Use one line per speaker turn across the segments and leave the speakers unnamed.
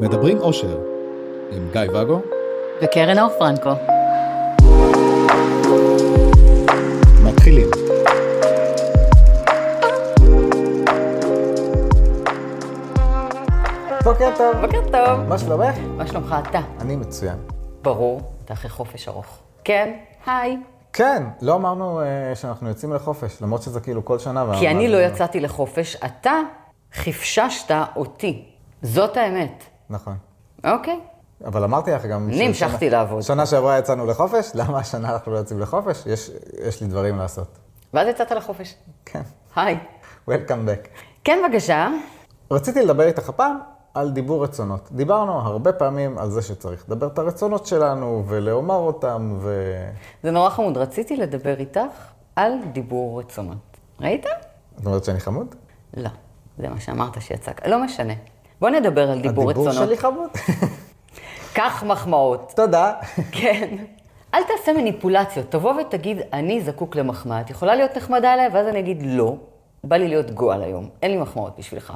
מדברים אושר, עם גיא ואגו.
וקרן אור פרנקו.
מתחילים.
בוקר טוב.
בוקר טוב.
מה שלומך?
מה שלומך אתה?
אני מצוין.
ברור, אתה אחרי חופש ארוך. כן, היי.
כן, לא אמרנו אה, שאנחנו יוצאים לחופש, למרות שזה כאילו כל שנה.
כי
ואמרנו-
אני לא יצאתי לחופש, אתה חפששת אותי. זאת האמת.
נכון.
אוקיי.
אבל אמרתי לך גם...
אני
ששנה-
המשכתי לעבוד.
שנה שעברה יצאנו לחופש, למה השנה אנחנו לא יוצאים לחופש? יש, יש לי דברים לעשות.
ואז יצאת לחופש.
כן.
היי.
Welcome back.
כן, בבקשה.
רציתי לדבר איתך הפעם על דיבור רצונות. דיברנו הרבה פעמים על זה שצריך לדבר את הרצונות שלנו ולאומר אותם ו...
זה נורא חמוד. רציתי לדבר איתך על דיבור רצונות. ראית?
את אומרת שאני חמוד?
לא. זה מה שאמרת שיצא. לא משנה. בוא נדבר על דיבור רצונות.
הדיבור שלי חמוד?
קח מחמאות.
תודה.
כן. אל תעשה מניפולציות, תבוא ותגיד, אני זקוק למחמאה. את יכולה להיות נחמדה אליי, ואז אני אגיד, לא, בא לי להיות גועל היום, אין לי מחמאות בשבילך.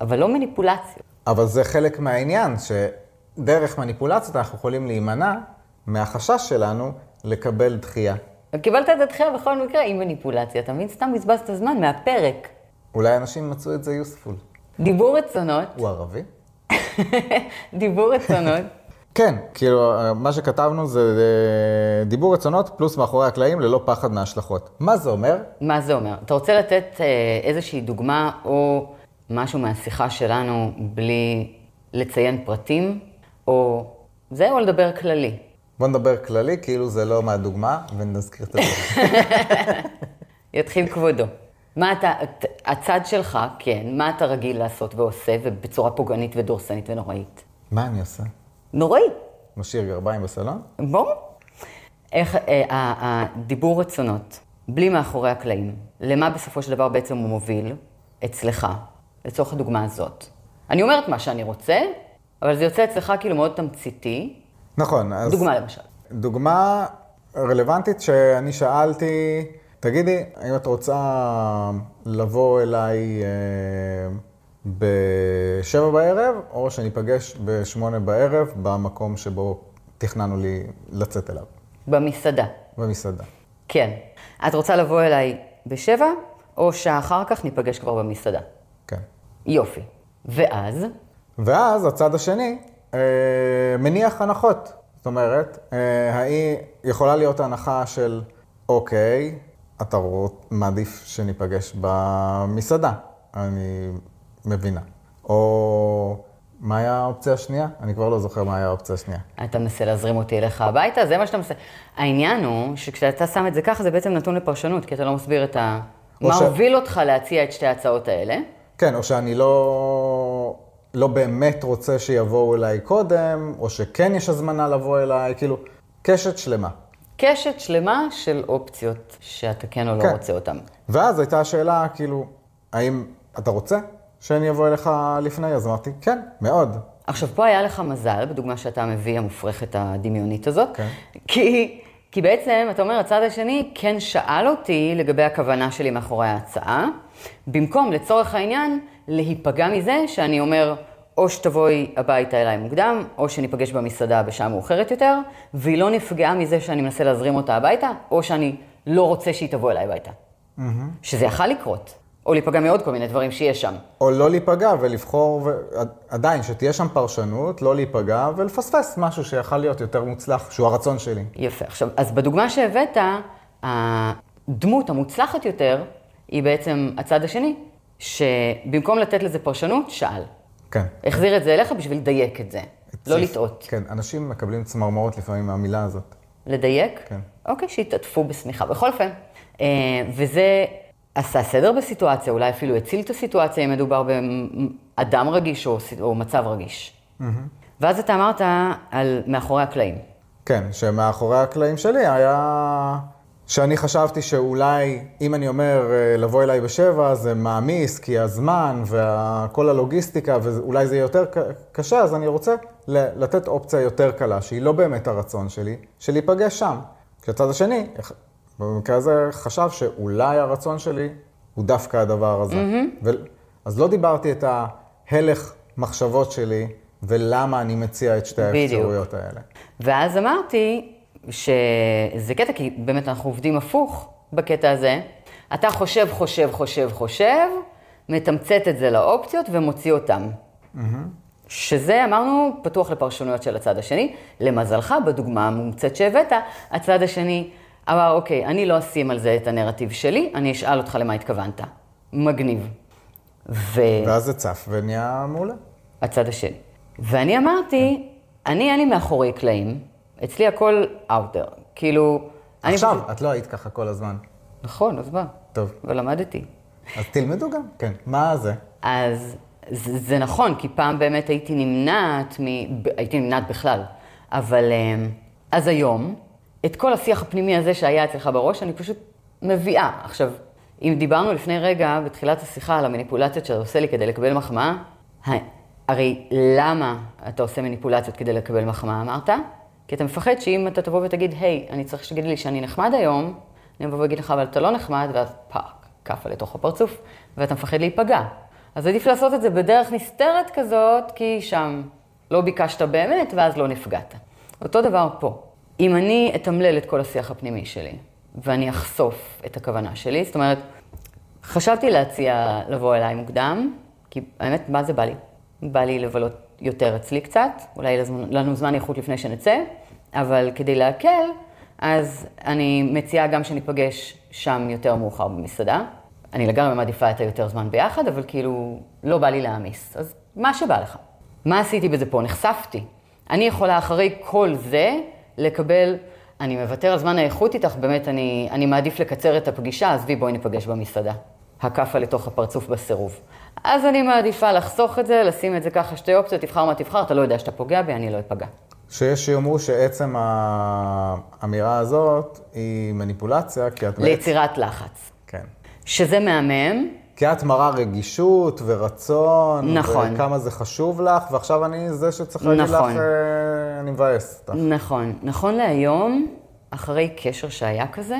אבל לא מניפולציות.
אבל זה חלק מהעניין, שדרך מניפולציות אנחנו יכולים להימנע מהחשש שלנו לקבל דחייה.
קיבלת את הדחייה בכל מקרה עם מניפולציה, אתה מבין? סתם בזבזת זמן מהפרק.
אולי אנשים מצאו את זה יוספול.
דיבור רצונות,
הוא ערבי?
דיבור רצונות.
כן, כאילו, מה שכתבנו זה אה, דיבור רצונות פלוס מאחורי הקלעים ללא פחד מההשלכות. מה זה אומר?
מה זה אומר? אתה רוצה לתת אה, איזושהי דוגמה או משהו מהשיחה שלנו בלי לציין פרטים, או זה, או לדבר כללי.
בוא נדבר כללי, כאילו זה לא מהדוגמה, ונזכיר את הדוגמה.
יתחיל כבודו. מה אתה, את- הצד שלך, כן, מה אתה רגיל לעשות ועושה, ובצורה פוגענית ודורסנית ונוראית?
מה אני עושה?
נוראי,
משאיר גרביים בסלון?
ברור. איך אה, ה- הדיבור רצונות, בלי מאחורי הקלעים, למה בסופו של דבר בעצם הוא מוביל אצלך, לצורך הדוגמה הזאת. אני אומרת מה שאני רוצה, אבל זה יוצא אצלך כאילו מאוד תמציתי.
נכון, אז...
דוגמה למשל.
דוגמה רלוונטית שאני שאלתי, תגידי, האם את רוצה לבוא אליי אה, בשבע בערב, או שניפגש בשמונה בערב במקום שבו תכננו לי לצאת אליו,
במסעדה,
במסעדה.
כן. את רוצה לבוא אליי בשבע, או שעה אחר כך ניפגש כבר במסעדה.
כן.
יופי. ואז,
ואז הצד השני אה, מניח הנחות. זאת אומרת, אה, האי יכולה להיות הנחה של, אוקיי, אתה רוצ- מעדיף שניפגש במסעדה, אני מבינה. או מה היה האופציה השנייה? אני כבר לא זוכר מה היה האופציה השנייה.
אתה מנסה להזרים אותי אליך הביתה, זה מה שאתה מנסה. העניין הוא שכשאתה שם את זה ככה, זה בעצם נתון לפרשנות, כי אתה לא מסביר את ה...
או
מה
ש-
הוביל אותך להציע את שתי ההצעות האלה.
כן, או שאני לא, לא באמת רוצה שיבואו אליי קודם, או שכן יש הזמנה לבוא אליי, כאילו, קשת שלמה.
קשת שלמה של אופציות שאתה כן או לא
כן.
רוצה אותן.
ואז הייתה השאלה, כאילו, האם אתה רוצה שאני אבוא אליך לפני? אז אמרתי, כן, מאוד.
עכשיו, פה היה לך מזל, בדוגמה שאתה מביא, המופרכת הדמיונית הזאת,
כן.
כי, כי בעצם, אתה אומר, הצד השני כן שאל אותי לגבי הכוונה שלי מאחורי ההצעה, במקום, לצורך העניין, להיפגע מזה שאני אומר, או שתבואי הביתה אליי מוקדם, או שניפגש במסעדה בשעה מאוחרת יותר, והיא לא נפגעה מזה שאני מנסה להזרים אותה הביתה, או שאני לא רוצה שהיא תבוא אליי הביתה. שזה יכל לקרות, או להיפגע מעוד כל מיני דברים שיש שם.
או לא להיפגע ולבחור, ו... עדיין, שתהיה שם פרשנות, לא להיפגע ולפספס משהו שיכל להיות יותר מוצלח, שהוא הרצון שלי.
יפה. עכשיו, אז בדוגמה שהבאת, הדמות המוצלחת יותר היא בעצם הצד השני, שבמקום לתת לזה פרשנות, שאל.
כן.
החזיר את זה אליך בשביל לדייק את זה, לא
צריך-
לטעות.
כן, אנשים מקבלים צמרמורות לפעמים מהמילה הזאת.
לדייק?
כן.
אוקיי, שיתעטפו בשמיכה. בכל אופן, אה, וזה עשה סדר בסיטואציה, אולי אפילו הציל את הסיטואציה אם מדובר באדם רגיש או, ס- או מצב רגיש. ואז אתה אמרת על מאחורי הקלעים.
כן, שמאחורי הקלעים שלי היה... שאני חשבתי שאולי, אם אני אומר אה, לבוא אליי בשבע, זה מעמיס, כי הזמן וכל הלוגיסטיקה, ואולי זה יהיה יותר ק- קשה, אז אני רוצה ל- לתת אופציה יותר קלה, שהיא לא באמת הרצון שלי, של להיפגש שם. כשהצד השני, ח- במקרה הזה, חשב שאולי הרצון שלי הוא דווקא הדבר הזה. ו- אז לא דיברתי את ההלך מחשבות שלי ולמה אני מציע את שתי
בדיוק.
האפשרויות האלה.
ואז אמרתי שזה קטע, כי באמת אנחנו עובדים הפוך בקטע הזה. אתה חושב, חושב, חושב, חושב, מתמצת את זה לאופציות ומוציא אותן. שזה, אמרנו, פתוח לפרשנויות של הצד השני. למזלך, בדוגמה המומצאת שהבאת, הצד השני אמר, אוקיי, אני לא אשים על זה את הנרטיב שלי, אני אשאל אותך למה התכוונת. מגניב. ו...
ואז זה צף ונהיה מעולה.
הצד השני. ואני אמרתי, אני אין לי מאחורי קלעים, אצלי הכל אאוטר. כאילו, אני...
עכשיו,
פשוט-
את לא היית ככה כל הזמן.
נכון, אז מה?
טוב,
ולמדתי.
אז תלמדו גם, כן. מה זה?
אז זה, זה נכון, כי פעם באמת הייתי נמנעת, מ... ב- הייתי נמנעת בכלל. אבל אמ, אז היום, את כל השיח הפנימי הזה שהיה אצלך בראש, אני פשוט מביאה. עכשיו, אם דיברנו לפני רגע, בתחילת השיחה, על המניפולציות שאתה עושה לי כדי לקבל מחמאה, ה- הרי למה אתה עושה מניפולציות כדי לקבל מחמאה, אמרת? כי אתה מפחד שאם אתה תבוא ותגיד, היי, אני צריך שתגיד לי שאני נחמד היום, אני אבוא ואגיד לך, אבל אתה לא נחמד, ואז פאק. כאפה לתוך הפרצוף, ואתה מפחד להיפגע. אז עדיף לעשות את זה בדרך נסתרת כזאת, כי שם לא ביקשת באמת, ואז לא נפגעת. אותו דבר פה. אם אני אתמלל את כל השיח הפנימי שלי, ואני אחשוף את הכוונה שלי, זאת אומרת, חשבתי להציע לבוא אליי מוקדם, כי האמת, מה זה בא לי? בא לי לבלות יותר אצלי קצת, אולי לזמן- לנו זמן איכות לפני שנצא, אבל כדי להקל, אז אני מציעה גם שניפגש שם יותר מאוחר במסעדה. אני לגמרי מעדיפה את היותר זמן ביחד, אבל כאילו, לא בא לי להעמיס. אז מה שבא לך. מה עשיתי בזה פה? נחשפתי. אני יכולה אחרי כל זה לקבל, אני מוותר על זמן האיכות איתך, באמת, אני, אני מעדיף לקצר את הפגישה, עזבי, בואי ניפגש במסעדה. הכאפה לתוך הפרצוף בסירוב. אז אני מעדיפה לחסוך את זה, לשים את זה ככה, שתי אופציות, תבחר מה תבחר, אתה לא יודע שאתה פוגע בי, אני לא אפגע.
שיש שיאמרו שעצם האמירה הזאת היא מניפולציה, כי את...
ליצירת לחץ.
כן.
שזה מהמם,
כי את מראה רגישות ורצון,
נכון.
וכמה זה חשוב לך, ועכשיו אני זה שצריך להגיד
נכון.
לך, אה, אני מבאס אותך.
נכון. נכון להיום, אחרי קשר שהיה כזה,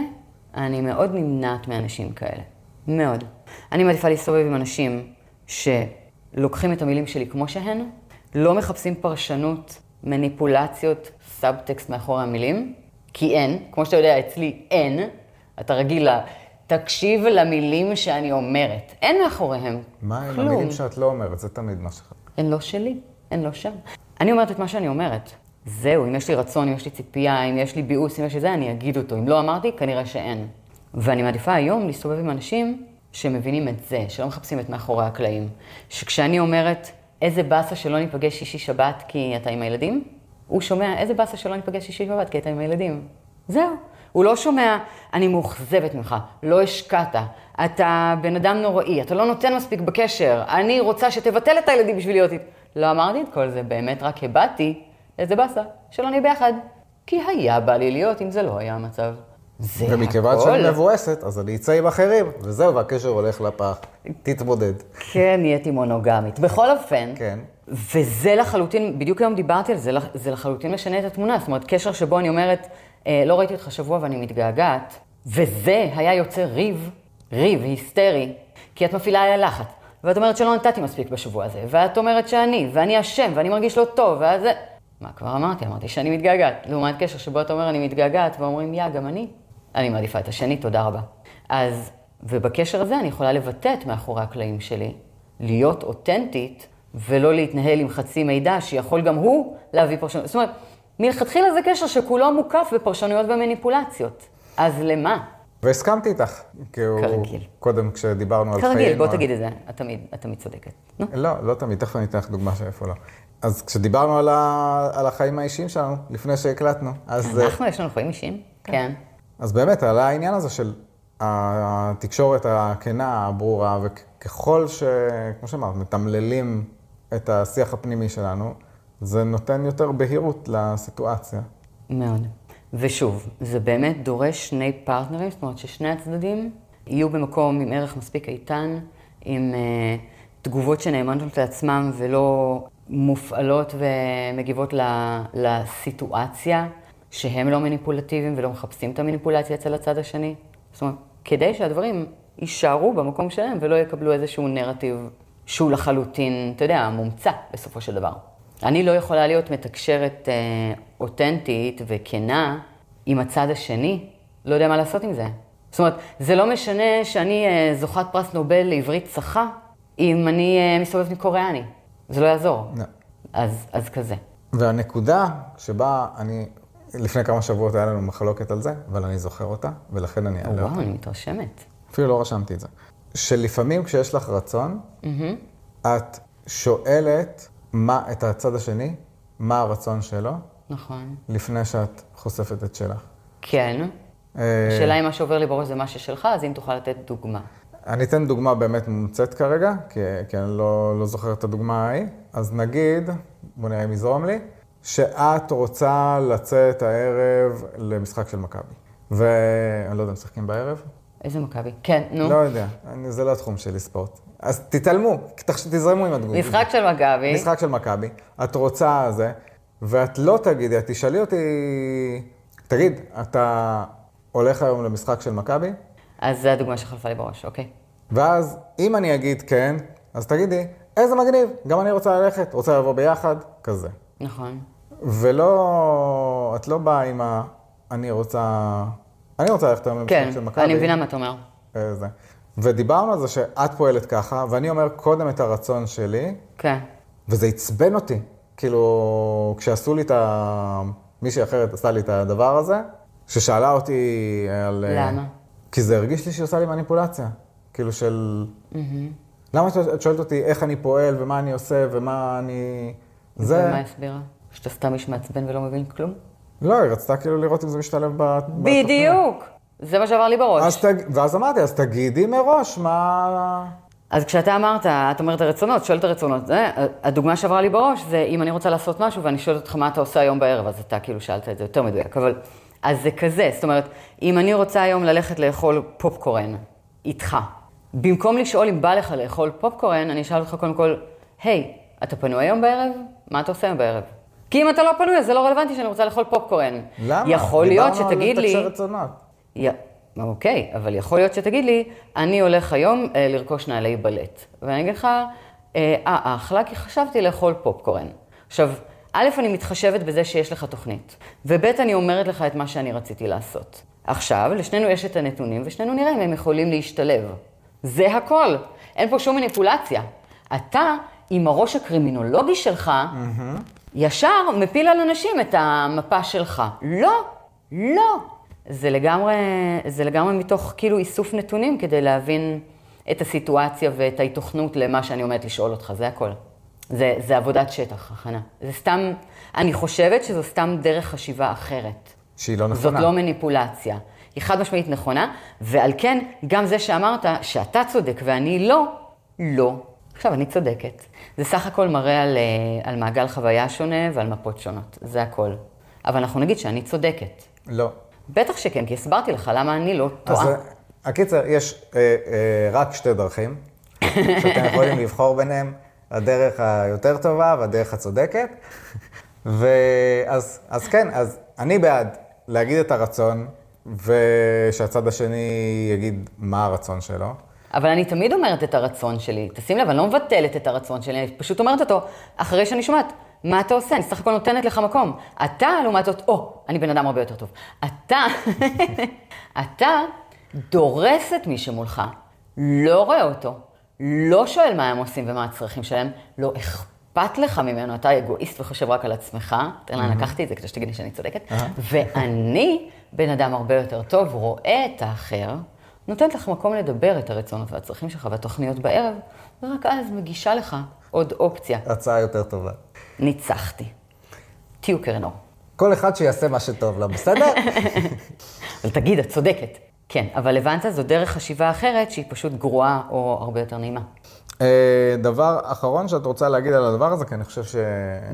אני מאוד נמנעת מאנשים כאלה. מאוד. אני מעדיפה להסתובב עם אנשים שלוקחים את המילים שלי כמו שהן, לא מחפשים פרשנות, מניפולציות, סאבטקסט מאחורי המילים, כי אין. כמו שאתה יודע, אצלי אין. אתה רגיל ל... תקשיב למילים שאני אומרת. אין מאחוריהם
מה עם
כלום.
המילים שאת לא אומרת? זה תמיד מה ש...
הן לא שלי, הן לא שם. אני אומרת את מה שאני אומרת. זהו, אם יש לי רצון, אם יש לי ציפייה, אם יש לי ביאוס, אם יש לי זה, אני אגיד אותו. אם לא אמרתי, כנראה שאין. ואני מעדיפה היום להסתובב עם אנשים שמבינים את זה, שלא מחפשים את מאחורי הקלעים. שכשאני אומרת, איזה באסה שלא ניפגש שישי-שבת כי אתה עם הילדים, הוא שומע, איזה באסה שלא ניפגש שישי-שבת כי אתה עם הילדים. זהו. הוא לא שומע, אני מאוכזבת ממך, לא השקעת, אתה בן אדם נוראי, אתה לא נותן מספיק בקשר, אני רוצה שתבטל את הילדים בשביל להיות איתי. לא אמרתי את כל זה, באמת רק הבעתי איזה באסה, שלא נהיה ביחד. כי היה בא לי להיות אם זה לא היה המצב. זה
ומכיוון
הכל.
שאני מבואסת, אז אני אצא עם אחרים, וזהו, והקשר הולך לפח. תתמודד.
כן, נהייתי מונוגמית. בכל אופן,
כן.
וזה לחלוטין, בדיוק היום דיברתי על זה, לח- זה לחלוטין משנה את התמונה. זאת אומרת, קשר שבו אני אומרת, אה, לא ראיתי אותך שבוע ואני מתגעגעת, וזה היה יוצר ריב, ריב היסטרי, כי את מפעילה עליה לחץ, ואת אומרת שלא נתתי מספיק בשבוע הזה, ואת אומרת שאני, ואני אשם, ואני מרגיש לא טוב, ואז זה... מה כבר אמרתי? אמרתי שאני מתגעגעת. לעומת קשר שבו אתה אומר אני מתגעגעת, ואומרים, יא, גם אני. אני מעדיפה את השני, תודה רבה. אז, ובקשר הזה אני יכולה לבטא את מאחורי הקלעים שלי, להיות אותנטית ולא להתנהל עם חצי מידע שיכול גם הוא להביא פרשנות. זאת אומרת, מלכתחילה זה קשר שכולו מוקף בפרשנויות ומניפולציות. אז למה?
והסכמתי איתך. כי הוא...
כרגיל.
קודם כשדיברנו על אה? חיינו.
כרגיל, בוא
על-
תגיד את זה, את תמיד, את תמיד צודקת. נו,
לא, לא תמיד, תכף אני אתן לך דוגמה שאיפה לא. אז כשדיברנו על, ה... על החיים האישיים שלנו, לפני שהקלטנו, אז, אה,
אנחנו, יש לנו חיים אישיים? כן.
אז באמת עלה העניין הזה של התקשורת הכנה, הברורה, וככל ש... כמו שאמרת, מתמללים את השיח הפנימי שלנו, זה נותן יותר בהירות לסיטואציה.
מאוד. ושוב, זה באמת דורש שני פרטנרים, זאת אומרת ששני הצדדים יהיו במקום עם ערך מספיק איתן, עם אה, תגובות שנאמנות לעצמם ולא מופעלות ומגיבות ל, לסיטואציה, שהם לא מניפולטיביים ולא מחפשים את המניפולציה אצל הצד השני. זאת אומרת, כדי שהדברים יישארו במקום שלהם ולא יקבלו איזשהו נרטיב שהוא לחלוטין, אתה יודע, מומצא בסופו של דבר. אני לא יכולה להיות מתקשרת אה, אותנטית וכנה עם הצד השני, לא יודע מה לעשות עם זה. זאת אומרת, זה לא משנה שאני אה, זוכת פרס נובל לעברית צחה, אם אני אה, מסתובבת עם קוריאני. זה לא יעזור.
לא.
אז, אז כזה.
והנקודה שבה אני, לפני כמה שבועות היה לנו מחלוקת על זה, אבל אני זוכר אותה, ולכן אני אעלה אותה.
וואו, אני מתרשמת.
אפילו לא רשמתי את זה. שלפעמים כשיש לך רצון, את שואלת מה, את הצד השני, מה הרצון שלו,
נכון.
לפני שאת חושפת את שלך.
כן.
אה,
השאלה אם מה שעובר לי בראש זה מה ששלך, אז אם תוכל לתת דוגמה.
אני אתן דוגמה באמת מומצאת כרגע, כי, כי אני לא, לא זוכר את הדוגמה ההיא. אז נגיד, בוא נראה אם יזרום לי, שאת רוצה לצאת הערב למשחק של מכבי. ואני לא יודע, משחקים בערב?
איזה מכבי. כן, נו.
לא יודע, אני, זה לא התחום שלי ספורט. אז תתעלמו, תחש- תזרמו עם התגובה.
משחק של מכבי.
משחק של מכבי, את רוצה זה, ואת לא תגידי, את תשאלי אותי, תגיד, אתה הולך היום למשחק של מכבי?
אז זו הדוגמה שחלפה לי בראש, אוקיי.
ואז, אם אני אגיד כן, אז תגידי, איזה מגניב, גם אני רוצה ללכת, רוצה לבוא ביחד, כזה.
נכון.
ולא, את לא באה עם ה... אני רוצה... אני רוצה ללכת היום למשחק
כן,
של מכבי.
אני מבינה מה אתה אומר.
אה, זה. ודיברנו על זה שאת פועלת ככה, ואני אומר קודם את הרצון שלי,
כן.
וזה עצבן אותי. כאילו, כשעשו לי את ה... מישהי אחרת עשה לי את הדבר הזה, ששאלה אותי על... אה,
למה?
כי זה הרגיש לי שהיא עושה לי מניפולציה. כאילו של...
Mm-hmm.
למה את- את שואלת אותי איך אני פועל, ומה אני עושה, ומה אני... זה...
ומה הסבירה? שאתה סתם איש מעצבן ולא מבין כלום?
לא, היא רצתה כאילו לראות אם זה משתלב ב... בתוכנית.
בדיוק! זה מה שעבר לי בראש.
אז תג... ואז אמרתי, אז תגידי מראש מה...
אז כשאתה אמרת, את אומרת הרצונות, שואלת הרצונות, זה, הדוגמה שעברה לי בראש זה אם אני רוצה לעשות משהו ואני שואלת אותך מה אתה עושה היום בערב, אז אתה כאילו שאלת את זה יותר מדויק, אבל אז זה כזה, זאת אומרת, אם אני רוצה היום ללכת לאכול פופקורן איתך, במקום לשאול אם בא לך לאכול פופקורן, אני אשאל אותך קודם כל, היי, אתה פנוי היום בערב? מה אתה עושה היום בערב? כי אם אתה לא פנוי, אז זה לא רלוונטי שאני רוצה לאכול פופקורן.
למה?
יכול להיות שתגיד לי...
דיברנו על לתקשר רצונות.
י... אוקיי, אבל יכול להיות שתגיד לי, אני הולך היום אה, לרכוש נעלי בלט. ואני אגיד לך, אה, אה, אחלה, כי חשבתי לאכול פופקורן. עכשיו, א', אני מתחשבת בזה שיש לך תוכנית, וב', אני אומרת לך את מה שאני רציתי לעשות. עכשיו, לשנינו יש את הנתונים, ושנינו נראה אם הם יכולים להשתלב. זה הכל. אין פה שום מניפולציה. אתה, עם הראש הקרימינולוגי שלך, ישר מפיל על אנשים את המפה שלך. לא, לא. זה לגמרי, זה לגמרי מתוך כאילו איסוף נתונים כדי להבין את הסיטואציה ואת ההיתכנות למה שאני עומדת לשאול אותך, זה הכל. זה, זה עבודת שטח, הכנה. זה סתם, אני חושבת שזו סתם דרך חשיבה אחרת.
שהיא לא
זאת
נכונה.
לא מניפולציה. היא חד משמעית נכונה, ועל כן, גם זה שאמרת שאתה צודק ואני לא, לא. עכשיו, אני צודקת. זה סך הכל מראה על, אה, על מעגל חוויה שונה ועל מפות שונות, זה הכל. אבל אנחנו נגיד שאני צודקת.
לא.
בטח שכן, כי הסברתי לך למה אני לא טועה.
אז אה, הקיצר, יש אה, אה, רק שתי דרכים, שאתם יכולים לבחור ביניהם, הדרך היותר טובה והדרך הצודקת. ואז אז כן, אז אני בעד להגיד את הרצון, ושהצד השני יגיד מה הרצון שלו.
אבל אני תמיד אומרת את הרצון שלי. תשים לב, אני לא מבטלת את הרצון שלי, אני פשוט אומרת אותו אחרי שאני שומעת. מה אתה עושה? אני סך הכל נותנת לך מקום. אתה, לעומת זאת, או, אני בן אדם הרבה יותר טוב. אתה, אתה דורס את מי שמולך, לא רואה אותו, לא שואל מה הם עושים ומה הצרכים שלהם, לא אכפת לך ממנו, אתה אגואיסט וחושב רק על עצמך. תראה לאן לקחתי את זה כדי שתגיד לי שאני צודקת. ואני, בן אדם הרבה יותר טוב, רואה את האחר, נותנת לך מקום לדבר את הרצונות והצרכים שלך והתוכניות בערב, ורק אז מגישה לך עוד אופציה.
הצעה יותר טובה.
ניצחתי. תהיו קרנור.
כל אחד שיעשה מה שטוב לו, בסדר?
אבל תגיד, את צודקת. כן, אבל הבנת, זו דרך חשיבה אחרת שהיא פשוט גרועה או הרבה יותר נעימה.
אה, דבר אחרון שאת רוצה להגיד על הדבר הזה, כי אני חושב ש...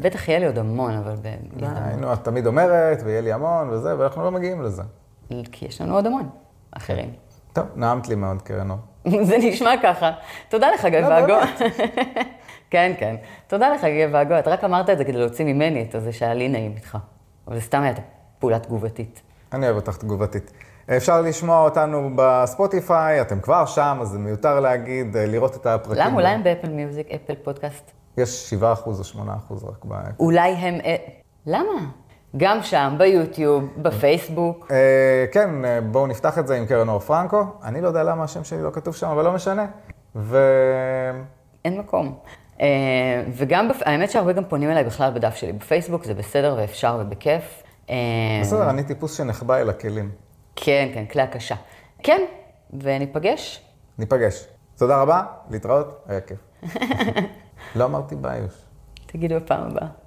בטח יהיה לי עוד המון, אבל... ב-
היינו, את תמיד אומרת, ויהיה לי המון וזה, ואנחנו לא מגיעים לזה.
כי יש לנו עוד המון אחרים.
טוב, נעמת לי מאוד, קרנור.
זה נשמע ככה. תודה לך, גיא
לא,
ואגו. כן, כן. תודה לך, גיא ואגו. את רק אמרת את זה כדי להוציא ממני את הזה שהיה לי נעים איתך. אבל זה סתם הייתה פעולה תגובתית.
אני אוהב אותך תגובתית. אפשר לשמוע אותנו בספוטיפיי, אתם כבר שם, אז זה מיותר להגיד, אה, לראות את הפרקים.
למה? אולי הם באפל מיוזיק, אפל פודקאסט?
יש 7% או 8% רק ב...
אולי הם... אה, למה? גם שם, ביוטיוב, בפייסבוק.
אה, כן, אה, בואו נפתח את זה עם קרן אור פרנקו. אני לא יודע למה השם שלי לא כתוב שם, אבל לא משנה. ו...
אין מקום. אה, וגם, בפ... האמת שהרבה גם פונים אליי בכלל בדף שלי בפייסבוק, זה בסדר ואפשר ובכיף. אה,
בסדר, אני טיפוס שנחבא אל הכלים.
כן, כן, כלי הקשה. כן, וניפגש.
ניפגש. תודה רבה, להתראות, היה כיף. לא אמרתי ביוש.
תגידו בפעם הבאה.